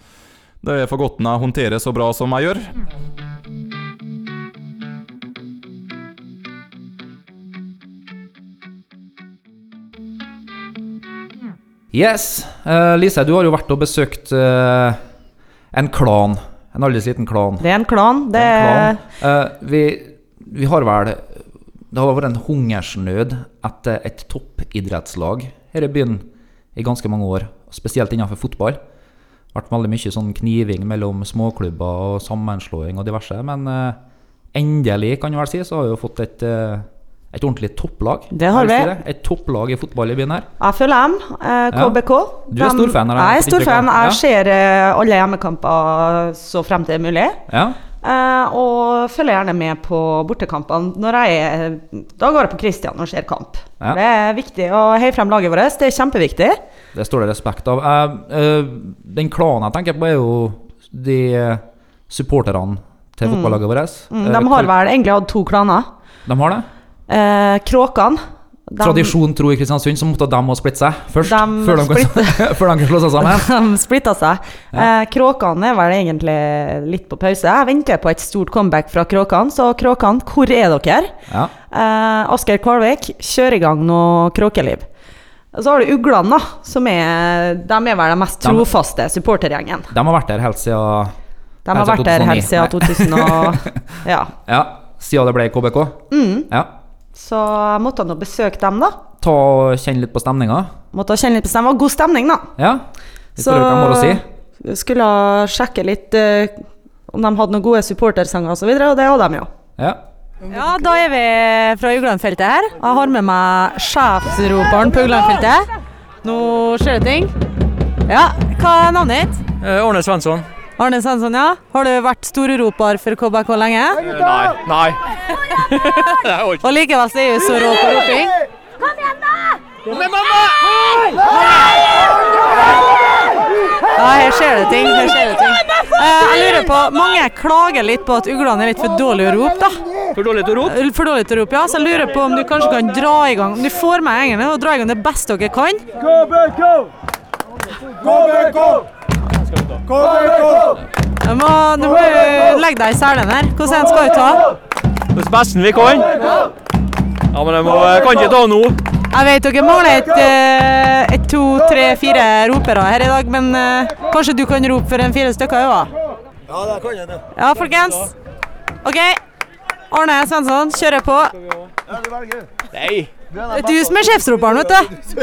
Speaker 14: Det er for godten jeg håndterer så bra som jeg gjør.
Speaker 3: Yes. eh, Lise, du har jo vært og besøkt eh, en klan. En aldri så liten klan.
Speaker 2: Det er en klan. Det
Speaker 3: En
Speaker 2: er
Speaker 3: klan. Eh, vi, vi har vel Det har vært en hungersnød etter et toppidrettslag her i byen i ganske mange år. Spesielt innenfor fotball. Det har vært veldig mye sånn kniving mellom småklubber og sammenslåing og diverse. Men eh, endelig, kan jeg vel si, så har vi jo fått et, eh, et ordentlig topplag.
Speaker 2: Det har
Speaker 3: Vil jeg si
Speaker 2: vi.
Speaker 3: det? Et topplag i fotball i byen her.
Speaker 2: FLM, eh, KBK.
Speaker 3: Du er
Speaker 2: De-
Speaker 3: stor fan av dem,
Speaker 2: Jeg er
Speaker 3: for
Speaker 2: stor
Speaker 3: inntrykk av.
Speaker 2: fan.
Speaker 3: Ja.
Speaker 2: Jeg ser eh, alle hjemmekamper så frem til det er mulig.
Speaker 3: Ja.
Speaker 2: Eh, og følger gjerne med på bortekampene. Når jeg er, da går jeg på Kristian og ser kamp.
Speaker 3: Ja.
Speaker 2: Det er viktig å heie frem laget vårt. Det er kjempeviktig.
Speaker 3: Det står det respekt av. Eh, eh, den klanen jeg tenker på, er jo de eh, supporterne til fotballaget vårt.
Speaker 2: Mm,
Speaker 3: Eh,
Speaker 2: de har
Speaker 3: hvor-
Speaker 2: vel egentlig hatt to klaner.
Speaker 3: de har det.
Speaker 2: Eh, Kråkene de-
Speaker 3: Tradisjon tro i Kristiansund, så måtte de også splitte seg først.
Speaker 2: De
Speaker 3: før, de kan, (laughs) før de kan slå
Speaker 2: (laughs)
Speaker 3: seg
Speaker 2: (laughs)
Speaker 3: sammen.
Speaker 2: De splitta seg. Eh, Kråkene er vel egentlig litt på pause. Jeg venter på et stort comeback fra Kråkene, så Kråkene, hvor er dere?
Speaker 3: Ja.
Speaker 2: Eh, Asgeir Kvalvik, kjør i gang noe kråkeliv. Og Så har du Uglene, da, som er De er vel den mest
Speaker 3: De-
Speaker 2: trofaste supportergjengen.
Speaker 3: De har vært der helt siden,
Speaker 2: De har
Speaker 3: Helt
Speaker 2: vært der helt
Speaker 3: siden
Speaker 2: siden 2000 og
Speaker 3: (laughs)
Speaker 2: Ja.
Speaker 3: ja, siden det ble KBK.
Speaker 2: Mm.
Speaker 3: Ja.
Speaker 2: Så jeg måtte nå besøke dem, da.
Speaker 3: Ta og Kjenne litt på stemninga.
Speaker 2: Måtte kjenne litt på stemmen. Det var god stemning, da.
Speaker 3: Ja. Vi prøver hva vi må si.
Speaker 2: skulle jeg sjekke litt eh, om de hadde noen gode supportersanger og så videre, og det hadde de jo.
Speaker 3: Ja.
Speaker 7: Ja, da er vi fra Uglandfeltet her.
Speaker 2: Jeg har med meg sjefsroperen på Uglandfeltet.
Speaker 7: Nå skjer det ting. Ja, hva er navnet ditt?
Speaker 8: Årne Svensson.
Speaker 7: Arne Svensson, ja. Har du vært storroper for KBK lenge?
Speaker 8: Nei. Eh, Nei. (laughs)
Speaker 7: Og likevel så er du så rå på roping. Ja, her skjer det ting. her skjer det ting. Eh, jeg lurer på, Mange klager litt på at uglene er litt for dårlige å rope. da.
Speaker 8: For dårlig til å rope?
Speaker 7: For dårlig til å rope, ja. Så jeg lurer på om du kanskje kan dra i gang om du får meg egentlig, og dra i gang det beste dere kan. Du må, du må legge deg i selen her. Hvordan en skal du ta?
Speaker 8: Det beste vi kan. Ja, men jeg må, jeg kan ikke ta nå.
Speaker 7: Jeg vet dere mangler et, eh, et to, tre, fire ropere her i dag, men eh, kanskje du kan rope for en fire stykker òg?
Speaker 5: Ja, det kan jeg, det.
Speaker 7: Ja, folkens. OK. Arne Svensson, kjører på.
Speaker 8: Nei.
Speaker 7: Det er du som er sjefsroperen, vet du.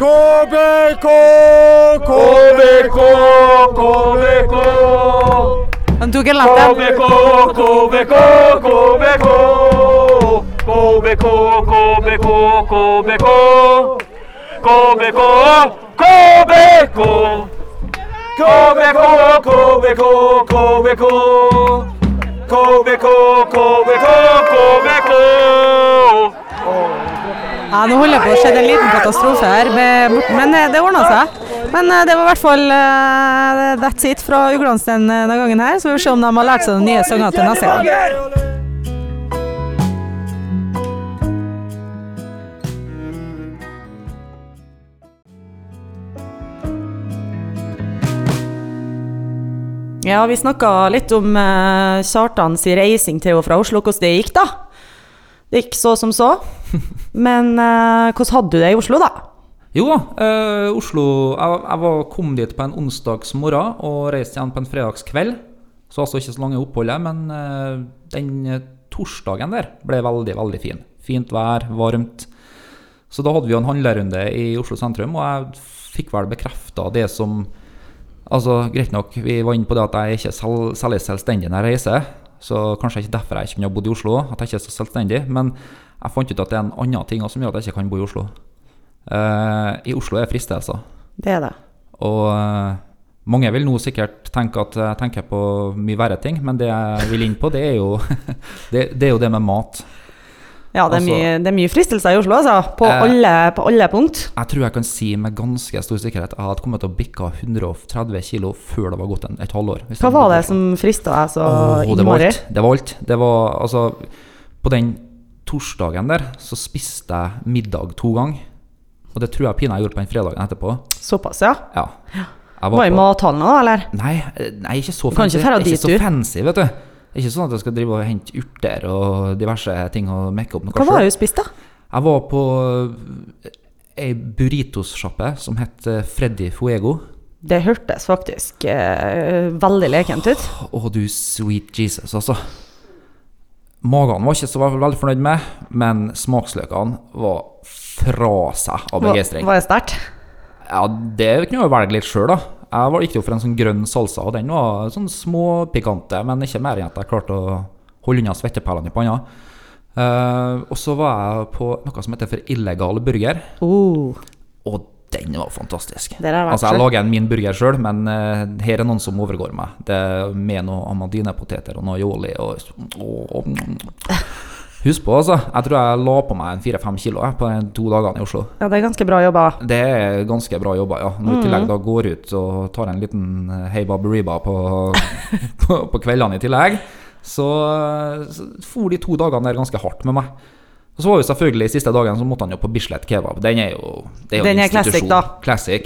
Speaker 5: KBK, KBK, KBK,
Speaker 7: Han tok en lapp, den.
Speaker 5: KBK, KBK, KBK,
Speaker 12: KBK, KBK, KBK. KBK, KBK. KBK, KBK, KBK. KBK, KBK, KBK.
Speaker 7: Ja, nå holder jeg på å skje en liten katastrofe her, med- men eh, det ordna seg. Men eh, det var i hvert fall eh, that's it fra Uglands den eh, denne gangen her. Så vi får se om de har lært seg de nye sangene til neste gang.
Speaker 2: Ja, vi snakka litt om eh, Kjartans reising til og fra Oslo, hvordan det gikk, da. Det gikk så som så. Men eh, hvordan hadde du det i Oslo, da?
Speaker 3: Jo da, eh, Oslo jeg, jeg var, kom dit på en onsdagsmorgen og reiste igjen på en fredagskveld. Så altså ikke så lange oppholdet, men eh, den eh, torsdagen der ble veldig, veldig fin. Fint vær, varmt. Så da hadde vi jo en handlerunde i Oslo sentrum, og jeg fikk vel bekrefta det som Altså, Greit nok, vi var inne på det at jeg ikke er sel- særlig selvstendig når jeg reiser. Så kanskje ikke derfor jeg ikke kunne ha bodd i Oslo, at jeg ikke er så selvstendig. Men jeg fant ut at det er en annen ting også som gjør at jeg ikke kan bo i Oslo. Eh, I Oslo er fristelser.
Speaker 2: Det er det.
Speaker 3: Og eh, mange vil nå sikkert tenke at jeg tenker på mye verre ting, men det jeg vil inn på, det er jo (laughs) det, det, er jo det med mat.
Speaker 2: Ja, det er,
Speaker 3: Altså-
Speaker 2: mye, det er mye fristelser i Oslo, altså. På,
Speaker 3: Eh.
Speaker 2: alle, på alle punkt.
Speaker 3: Jeg tror jeg kan si med ganske stor sikkerhet at jeg hadde kommet til å bikke 130 kilo før det var gått en, et halvår. hvis
Speaker 2: Hva
Speaker 3: jeg
Speaker 2: var
Speaker 3: hadde
Speaker 2: det
Speaker 3: gått
Speaker 2: som frista deg så
Speaker 3: Åh, det var
Speaker 2: innmari?
Speaker 3: alt. Det var alt. Det var, altså, på den torsdagen der så spiste jeg middag to ganger. Og det tror jeg pinadø jeg gjorde på den fredagen etterpå.
Speaker 2: Såpass, ja.
Speaker 3: Ja. Jeg
Speaker 2: Var i
Speaker 3: på-
Speaker 2: mathallen òg, eller?
Speaker 3: Nei, eh, nei, ikke så
Speaker 2: Du kan
Speaker 3: fancy.
Speaker 2: ikke dra
Speaker 3: Ikke
Speaker 2: dit,
Speaker 3: så
Speaker 2: du.
Speaker 3: fancy, vet du. Det er ikke sånn at jeg skal drive og hente urter og diverse ting og mekke opp noe
Speaker 2: Hva var
Speaker 3: selv.
Speaker 2: det du spiste, da?
Speaker 3: Jeg var på eh, ei burritosjappe som het eh, Freddy Fuego.
Speaker 2: Det hørtes faktisk eh, veldig lekent ut.
Speaker 3: Å, du sweet Jesus, altså. Magen var ikke så vel- veldig fornøyd med, men smaksløkene var fra seg av
Speaker 2: Var,
Speaker 3: begeistring.
Speaker 2: var det sterkt?
Speaker 3: Ja, det kunne jeg jo velge litt sjøl, da. Jeg var, gikk jo for en sånn grønn salsa, og den var sånn småpikante, men ikke mer enn at jeg klarte å holde unna svetteperlene i panna. Eh, og så var jeg på noe som heter for illegal burger.
Speaker 2: Oh.
Speaker 3: Og den var fantastisk.
Speaker 2: Der har jeg vært
Speaker 3: altså, jeg
Speaker 2: selv.
Speaker 3: lager en min burger sjøl, men eh, her er noen som overgår meg. Det er Med noe amadinepoteter og noe aioli og, og, og Husk på, altså. Jeg tror jeg la på meg en fire-fem kilo jeg, på de to dagene i Oslo.
Speaker 2: Ja, det er ganske bra jobba.
Speaker 3: Det er ganske bra jobba, ja. Når du i
Speaker 2: Mhm.
Speaker 3: tillegg da går ut og tar en liten eh, hei baberiba på, (laughs) på, på kveldene i tillegg, så, så for de to dagene der ganske hardt med meg. Og så var jo selvfølgelig siste dagen så måtte han jo på Bislett kebab. Den er jo, det er jo
Speaker 2: Den
Speaker 3: en
Speaker 2: er classic,
Speaker 3: institusjon.
Speaker 2: da. Mm.
Speaker 3: Classic.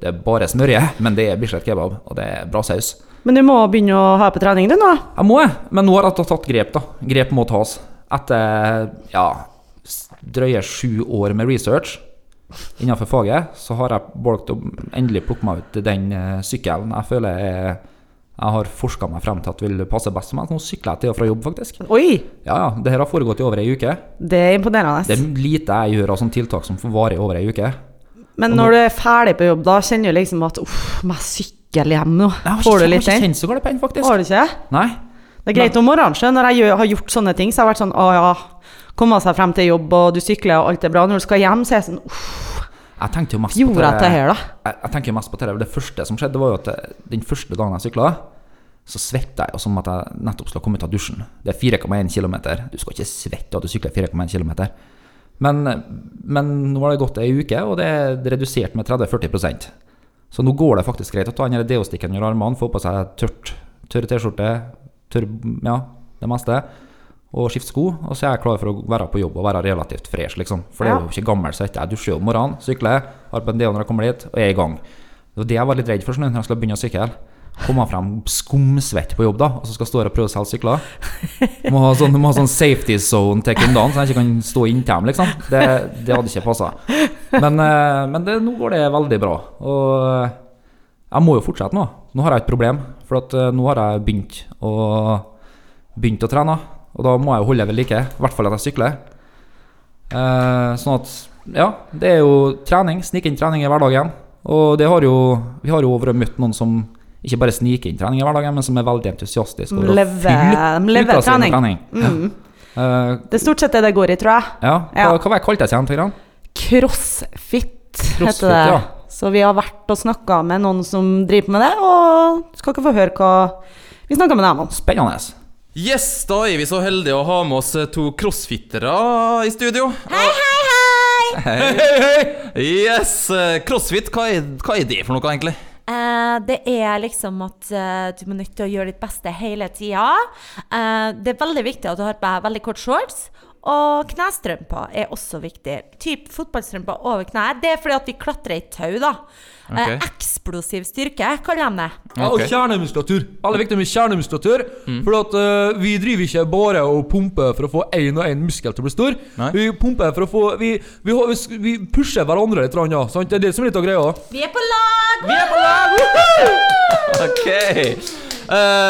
Speaker 3: Det er bare smørje, men det er Bislett kebab, og det er bra saus.
Speaker 2: Men du må begynne å ha på trening, du nå.
Speaker 3: Jeg må, jeg. Men nå har jeg tatt- tatt grep, da. Grep må tas. Etter ja, s- drøye sju år med research innenfor faget, så har jeg valgt å endelig plukke meg ut den eh, sykkelen jeg føler jeg, jeg har forska meg frem til at vil passe best for meg. Nå sykler jeg til og fra jobb, faktisk.
Speaker 2: Oi!
Speaker 3: Ja, ja. Det her har foregått i over ei uke.
Speaker 2: Det er imponerende.
Speaker 3: Det er lite jeg gjør av sånne tiltak som får vare i over ei uke.
Speaker 2: Men når du er ferdig på jobb, da kjenner du liksom at uff, må jeg sykle hjem nå? Får du litt
Speaker 3: Jeg har ikke
Speaker 2: den?
Speaker 3: kjent så galt på den, faktisk.
Speaker 2: Har du ikke?
Speaker 3: Nei.
Speaker 2: Det er greit om morgenen, sjø. Når jeg gjør, har gjort sånne ting, så har jeg vært sånn å ja, komme seg frem til jobb, og du sykler, og alt er bra. Når du skal hjem, så er jeg sånn uff,
Speaker 3: Jeg tenkte jo mest på
Speaker 2: gjorde jeg det her, da?
Speaker 3: jeg, jeg tenker mest på det. Det første som skjedde, var jo at eh, den første dagen jeg sykla, så svetta jeg jo som at jeg nettopp skulle ha kommet ut av dusjen. Det er 4,1 km. Du skal ikke svette av at du sykler 4,1 km. Men, men nå har det gått ei uke, og det er redusert med 30-40 Så nå går det faktisk greit å ta den her deo-stikken under armene, få på seg tørt, tørre T-skjorte, tørr ja, det meste, og skifte sko. Og så er jeg klar for å være på jobb og være relativt fresh, liksom. For det er jo ikke gammel svette. Jeg dusjer jo om morgenen, sykler, har på en deo når jeg kommer dit, og er i gang. Det var det jeg var litt redd for sånn, når jeg skulle begynne å sykle. Komme frem skumsvett på jobb, da, og så skal jeg stå her og prøve å selge sykler. Må ha sånn, må ha sånn safety zone til kundene, så jeg ikke kan stå inntil dem, liksom. Det, det hadde ikke passa. Men, eh, men det, nå går det veldig bra. Og eh, jeg må jo fortsette nå. Nå har jeg et problem, for at eh, nå har jeg begynt å, begynt å trene. Og da må jeg jo holde ved like, i hvert fall at jeg sykler. Eh, sånn at ja, det er jo trening. Snike inn trening i hverdagen. Og det har jo, vi har jo vært møtt noen som ikke bare sniker inn trening i hverdagen, men som er veldig entusiastiske. over å
Speaker 2: Leve-
Speaker 3: fylle
Speaker 2: de lever
Speaker 3: uka si med
Speaker 2: trening.
Speaker 3: trening.
Speaker 2: Mm.
Speaker 3: Eh,
Speaker 2: Det er stort sett det det går i, tror jeg.
Speaker 3: ja, hva,
Speaker 2: Ja.
Speaker 3: hva var det kalte jeg seg igjen? for grann?
Speaker 2: Crossfit,
Speaker 3: Crossfit,
Speaker 2: heter det.
Speaker 3: ja.
Speaker 2: Så vi har vært og snakka med noen som driver med det, og skal ikke få høre hva vi snakka med dem om.
Speaker 3: Spennende.
Speaker 14: Yes, da er vi så heldige å ha med oss to crossfittere i studio. Hei, hei, hei! Yes, eh, crossfit, hva er, hva er det for noe egentlig?
Speaker 9: Eh, det er liksom at eh, du må nødt til å gjøre ditt beste hele tida. Eh, det er veldig viktig at du har på deg veldig kort shorts. Og knestrømper er også viktig. Typ fotballstrømper over kneet. Det er fordi at vi klatrer i tau, da. Eh,
Speaker 12: Ok.
Speaker 9: eksplosiv styrke, kaller de det.
Speaker 12: Ja, og kjernemuskulatur. Veldig viktig med kjernemuskulatur. For at eh, vi driver ikke bare og pumper for å få én og én muskel til å bli stor. Vi pumper for å få Vi, vi, har- vi, sk- vi pusher hverandre litt, ja, sant? Det er det som er litt av greia.
Speaker 9: Vi er på lag!
Speaker 12: Vi er på lag!
Speaker 14: Ok. Eh,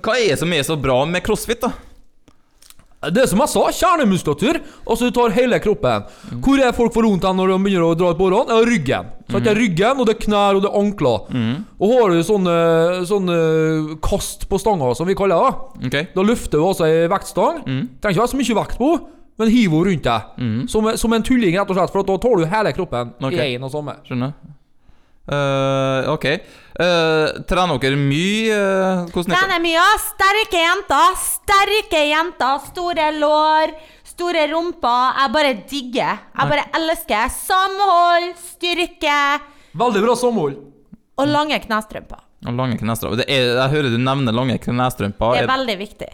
Speaker 14: hva er det som er så bra med crossfit, da?
Speaker 12: Det er som jeg sa, kjernemuskulatur. Altså du tar hele kroppen. Hvor er folk for vondt hen når de begynner å dra ut bårene? Ja, ryggen. Så det er ryggen, og det er knær, og det er ankler.
Speaker 14: Mm.
Speaker 12: Og har du sånne, sånne kast på stanga, som vi kaller det,
Speaker 14: Ok.
Speaker 12: da løfter du altså ei vektstang.
Speaker 14: Mm.
Speaker 12: Trenger ikke være så mye vekt på, men hiver henne rundt deg. Som, som en tulling, rett og slett, for at da tar du hele kroppen
Speaker 14: Ok.
Speaker 12: i én og samme.
Speaker 14: Skjønner. Eh, ok. Eh, trener dere mye? eh, hvordan er det?
Speaker 9: Trener mye. Sterke jenter. Sterke jenter. Store lår. Store rumper. Jeg bare digger. Jeg bare elsker. Samhold, styrke
Speaker 12: Veldig bra samhold.
Speaker 9: og lange knestrømper.
Speaker 14: Og lange knestrømper. Det er, jeg hører du nevner lange knestrømper.
Speaker 9: Det er
Speaker 14: Er-
Speaker 9: veldig viktig.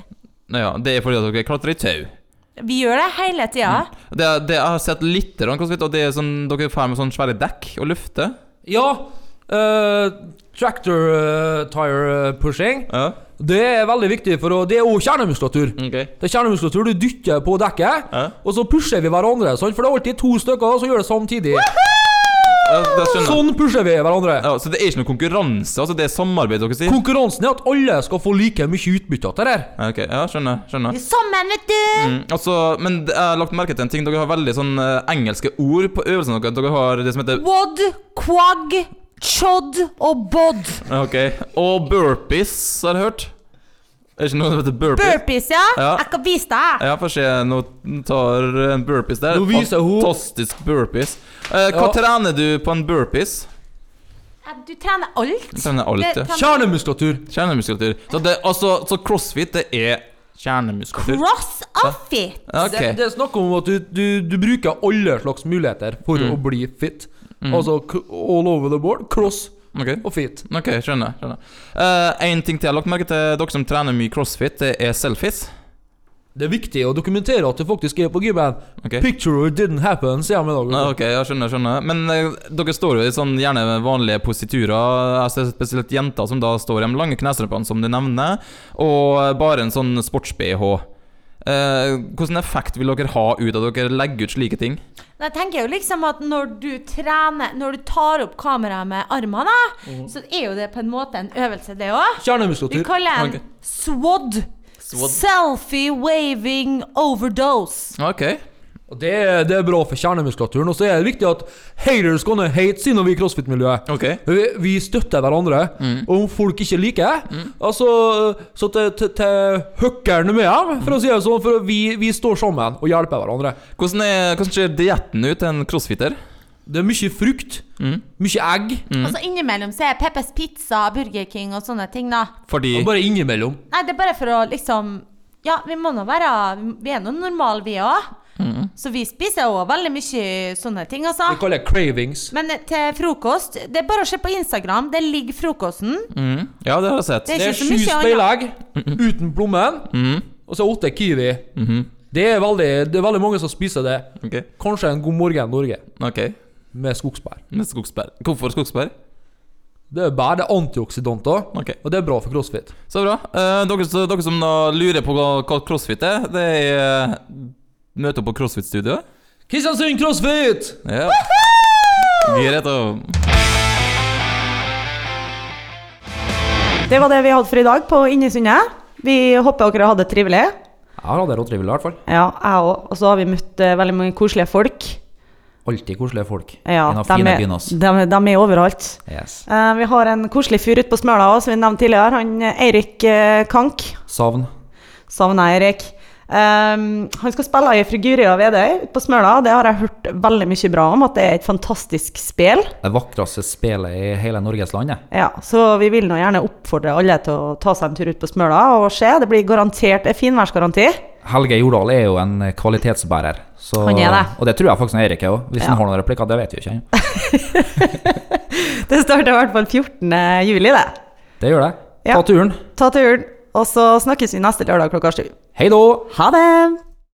Speaker 14: Ja, det er fordi at dere klatrer i tau.
Speaker 9: Vi gjør det hele tida.
Speaker 14: Det, er- det, jeg har sett litt, rann, crossfit, og det er sånn, dere får med sånne svære dekk og lufter.
Speaker 12: Ja. eh, tractor eh, tire pushing. Det er veldig viktig, for å, det er òg kjernemuskulatur. Det er kjernemuskulatur, Du dytter på dekket, og så pusher vi hverandre. Sant? For det er alltid to stykker som gjør det samtidig. Sånn pusher vi hverandre.
Speaker 14: Ja, så det er ikke noe konkurranse? altså Det er samarbeid dere sier?
Speaker 12: Konkurransen er at alle skal få like mye utbytte av det der.
Speaker 14: Ja, ok, ja, skjønner. skjønner.
Speaker 9: Sammen, vet du!
Speaker 14: Mm, altså, men det- jeg har lagt merke til en ting. Dere har veldig sånn eh, engelske ord på øvelsene deres. Dere har det som heter
Speaker 9: Wod, quag, chod og bod.
Speaker 14: Ja, Ok. Og burpees, har jeg hørt. Er det ikke noe som heter burpees?
Speaker 9: Burpees, ja.
Speaker 14: Ja.
Speaker 9: Jeg kan vise deg.
Speaker 14: Ja, få se. Nå tar en burpees der.
Speaker 12: Nå viser hun.
Speaker 14: Fantastisk burpees. Eh, hva
Speaker 12: Ja.
Speaker 14: trener du på en burpees?
Speaker 9: Du trener alt.
Speaker 14: Du trener alt,
Speaker 9: Det-
Speaker 14: ja.
Speaker 9: trener-
Speaker 12: Kjernemuskulatur.
Speaker 14: Kjernemuskulatur. Så, det, altså, så crossfit, det er kjernemuskulatur.
Speaker 9: Cross off it.
Speaker 12: Det, det er snakk om at du, du, du bruker alle slags muligheter for å bli fit.
Speaker 14: Mm.
Speaker 12: Altså k- all over the board. Cross
Speaker 14: Ok.
Speaker 12: og fit.
Speaker 14: Ok, skjønner. skjønner. Eh, en ting til jeg har lagt merke til. Dere som trener mye crossfit, det er selfies.
Speaker 12: Det er viktig å dokumentere at du faktisk er på gymmen.
Speaker 14: Ok.
Speaker 12: Picture or it didn't happen, sier jeg med dag.
Speaker 14: Ja, ok, jeg skjønner, skjønner. Men eh, dere står jo i sånn gjerne vanlige positurer. Jeg ser spesielt jenter som da står i de lange knestrømpene, som du nevner, og eh, bare en sånn sports-BH. Eh, hvordan effekt vil dere ha ut av at dere legger ut slike ting?
Speaker 9: Men Jeg tenker jo liksom at når du trener, når du tar opp kameraet med armene, da,
Speaker 14: Mm.
Speaker 12: Mhm.
Speaker 9: så er jo det på en måte en øvelse, det òg.
Speaker 12: Kjernemuskulatur.
Speaker 9: Vi kaller
Speaker 12: Ok.
Speaker 9: den SWOD.
Speaker 12: SWOD.
Speaker 9: Selfie waving overdose.
Speaker 12: Og det, er- det er bra for kjernemuskulaturen. Og så er det viktig at haters gonna hate, sier vi i crossfit-miljøet. Vi, vi støtter hverandre.
Speaker 14: Mm.
Speaker 12: Og om folk ikke liker det, altså, så til, til, til høkkerne med dem, for å si det sånn. For vi, vi står sammen og hjelper hverandre.
Speaker 14: Hvordan, er, hvordan ser dietten ut til en crossfitter?
Speaker 12: Det er mye frukt,
Speaker 9: Mm.
Speaker 12: mye egg.
Speaker 14: Mm.
Speaker 9: Og så innimellom så er Peppers Pizza, Burger King og sånne ting, da.
Speaker 14: Fordi
Speaker 12: Bare innimellom.
Speaker 9: Nei, det er bare for å liksom Ja, vi må nå være Vi er nå normale, vi òg. Så vi spiser òg veldig mye sånne ting, altså.
Speaker 12: Det kaller jeg cravings.
Speaker 9: Men til frokost Det er bare å se på Instagram. Der ligger frokosten.
Speaker 14: mm. Ja, det har jeg sett. Mm.
Speaker 9: Det er
Speaker 12: Det
Speaker 9: Mm,
Speaker 12: er
Speaker 9: ikke så
Speaker 12: sju
Speaker 9: mye
Speaker 12: speilegg uten plommen, og så er åtte kiwi.
Speaker 9: Mm.
Speaker 14: Mhm.
Speaker 12: Det, er veldig, det er veldig mange som spiser det. Kanskje en God morgen Norge med skogsbær.
Speaker 14: Med skogsbær. Hvorfor skogsbær?
Speaker 12: Det er bær, det er antioksidanter, og det er bra for crossfit.
Speaker 14: Så bra. Eh, dere, så, dere som da lurer på hva, hva crossfit er, det er uh, møte opp på crossfit-studioet.
Speaker 12: Kristiansund crossfit!
Speaker 14: Ja. Vi er rett og
Speaker 2: Det var det vi hadde for i dag på Innesundet. Vi håper dere hadde det trivelig.
Speaker 3: Jeg har hatt det råtrivelig, i hvert fall.
Speaker 2: Ja, jeg òg. Og så har vi møtt eh, veldig mange koselige folk.
Speaker 3: Alltid koselige folk.
Speaker 2: Ja,
Speaker 3: en av
Speaker 2: de,
Speaker 3: fine
Speaker 2: er,
Speaker 3: byene oss.
Speaker 2: de, de er overalt.
Speaker 3: Yes.
Speaker 2: Eh, vi har en koselig fyr ute på Smøla òg, som vi nevnte tidligere. Han eh, Eirik eh, Kank.
Speaker 3: Savn.
Speaker 2: Savner jeg Erik. Ehm, han skal spille i Friguria Vedøy ute på Smøla. Det har jeg hørt veldig mye bra om, at det er et fantastisk spill.
Speaker 3: Det vakreste spelet i hele Norges land, det.
Speaker 2: Ja, så vi vil nå gjerne oppfordre alle til å ta seg en tur ut på Smøla og se. Det blir garantert en finværsgaranti.
Speaker 3: Helge Jordal er jo en kvalitetsbærer. Så,
Speaker 2: Han er det.
Speaker 3: Og det tror jeg faktisk han Erik er òg, hvis
Speaker 2: Ja.
Speaker 3: han har noen replikker. Det vet vi jo ikke. ennå.
Speaker 2: Det starter i hvert fall 14. juli, det.
Speaker 3: Det gjør det.
Speaker 2: Ja.
Speaker 3: Ta turen.
Speaker 2: Ta turen. Og så snakkes vi neste lørdag klokka sju.
Speaker 3: Hei da!
Speaker 2: Ha det!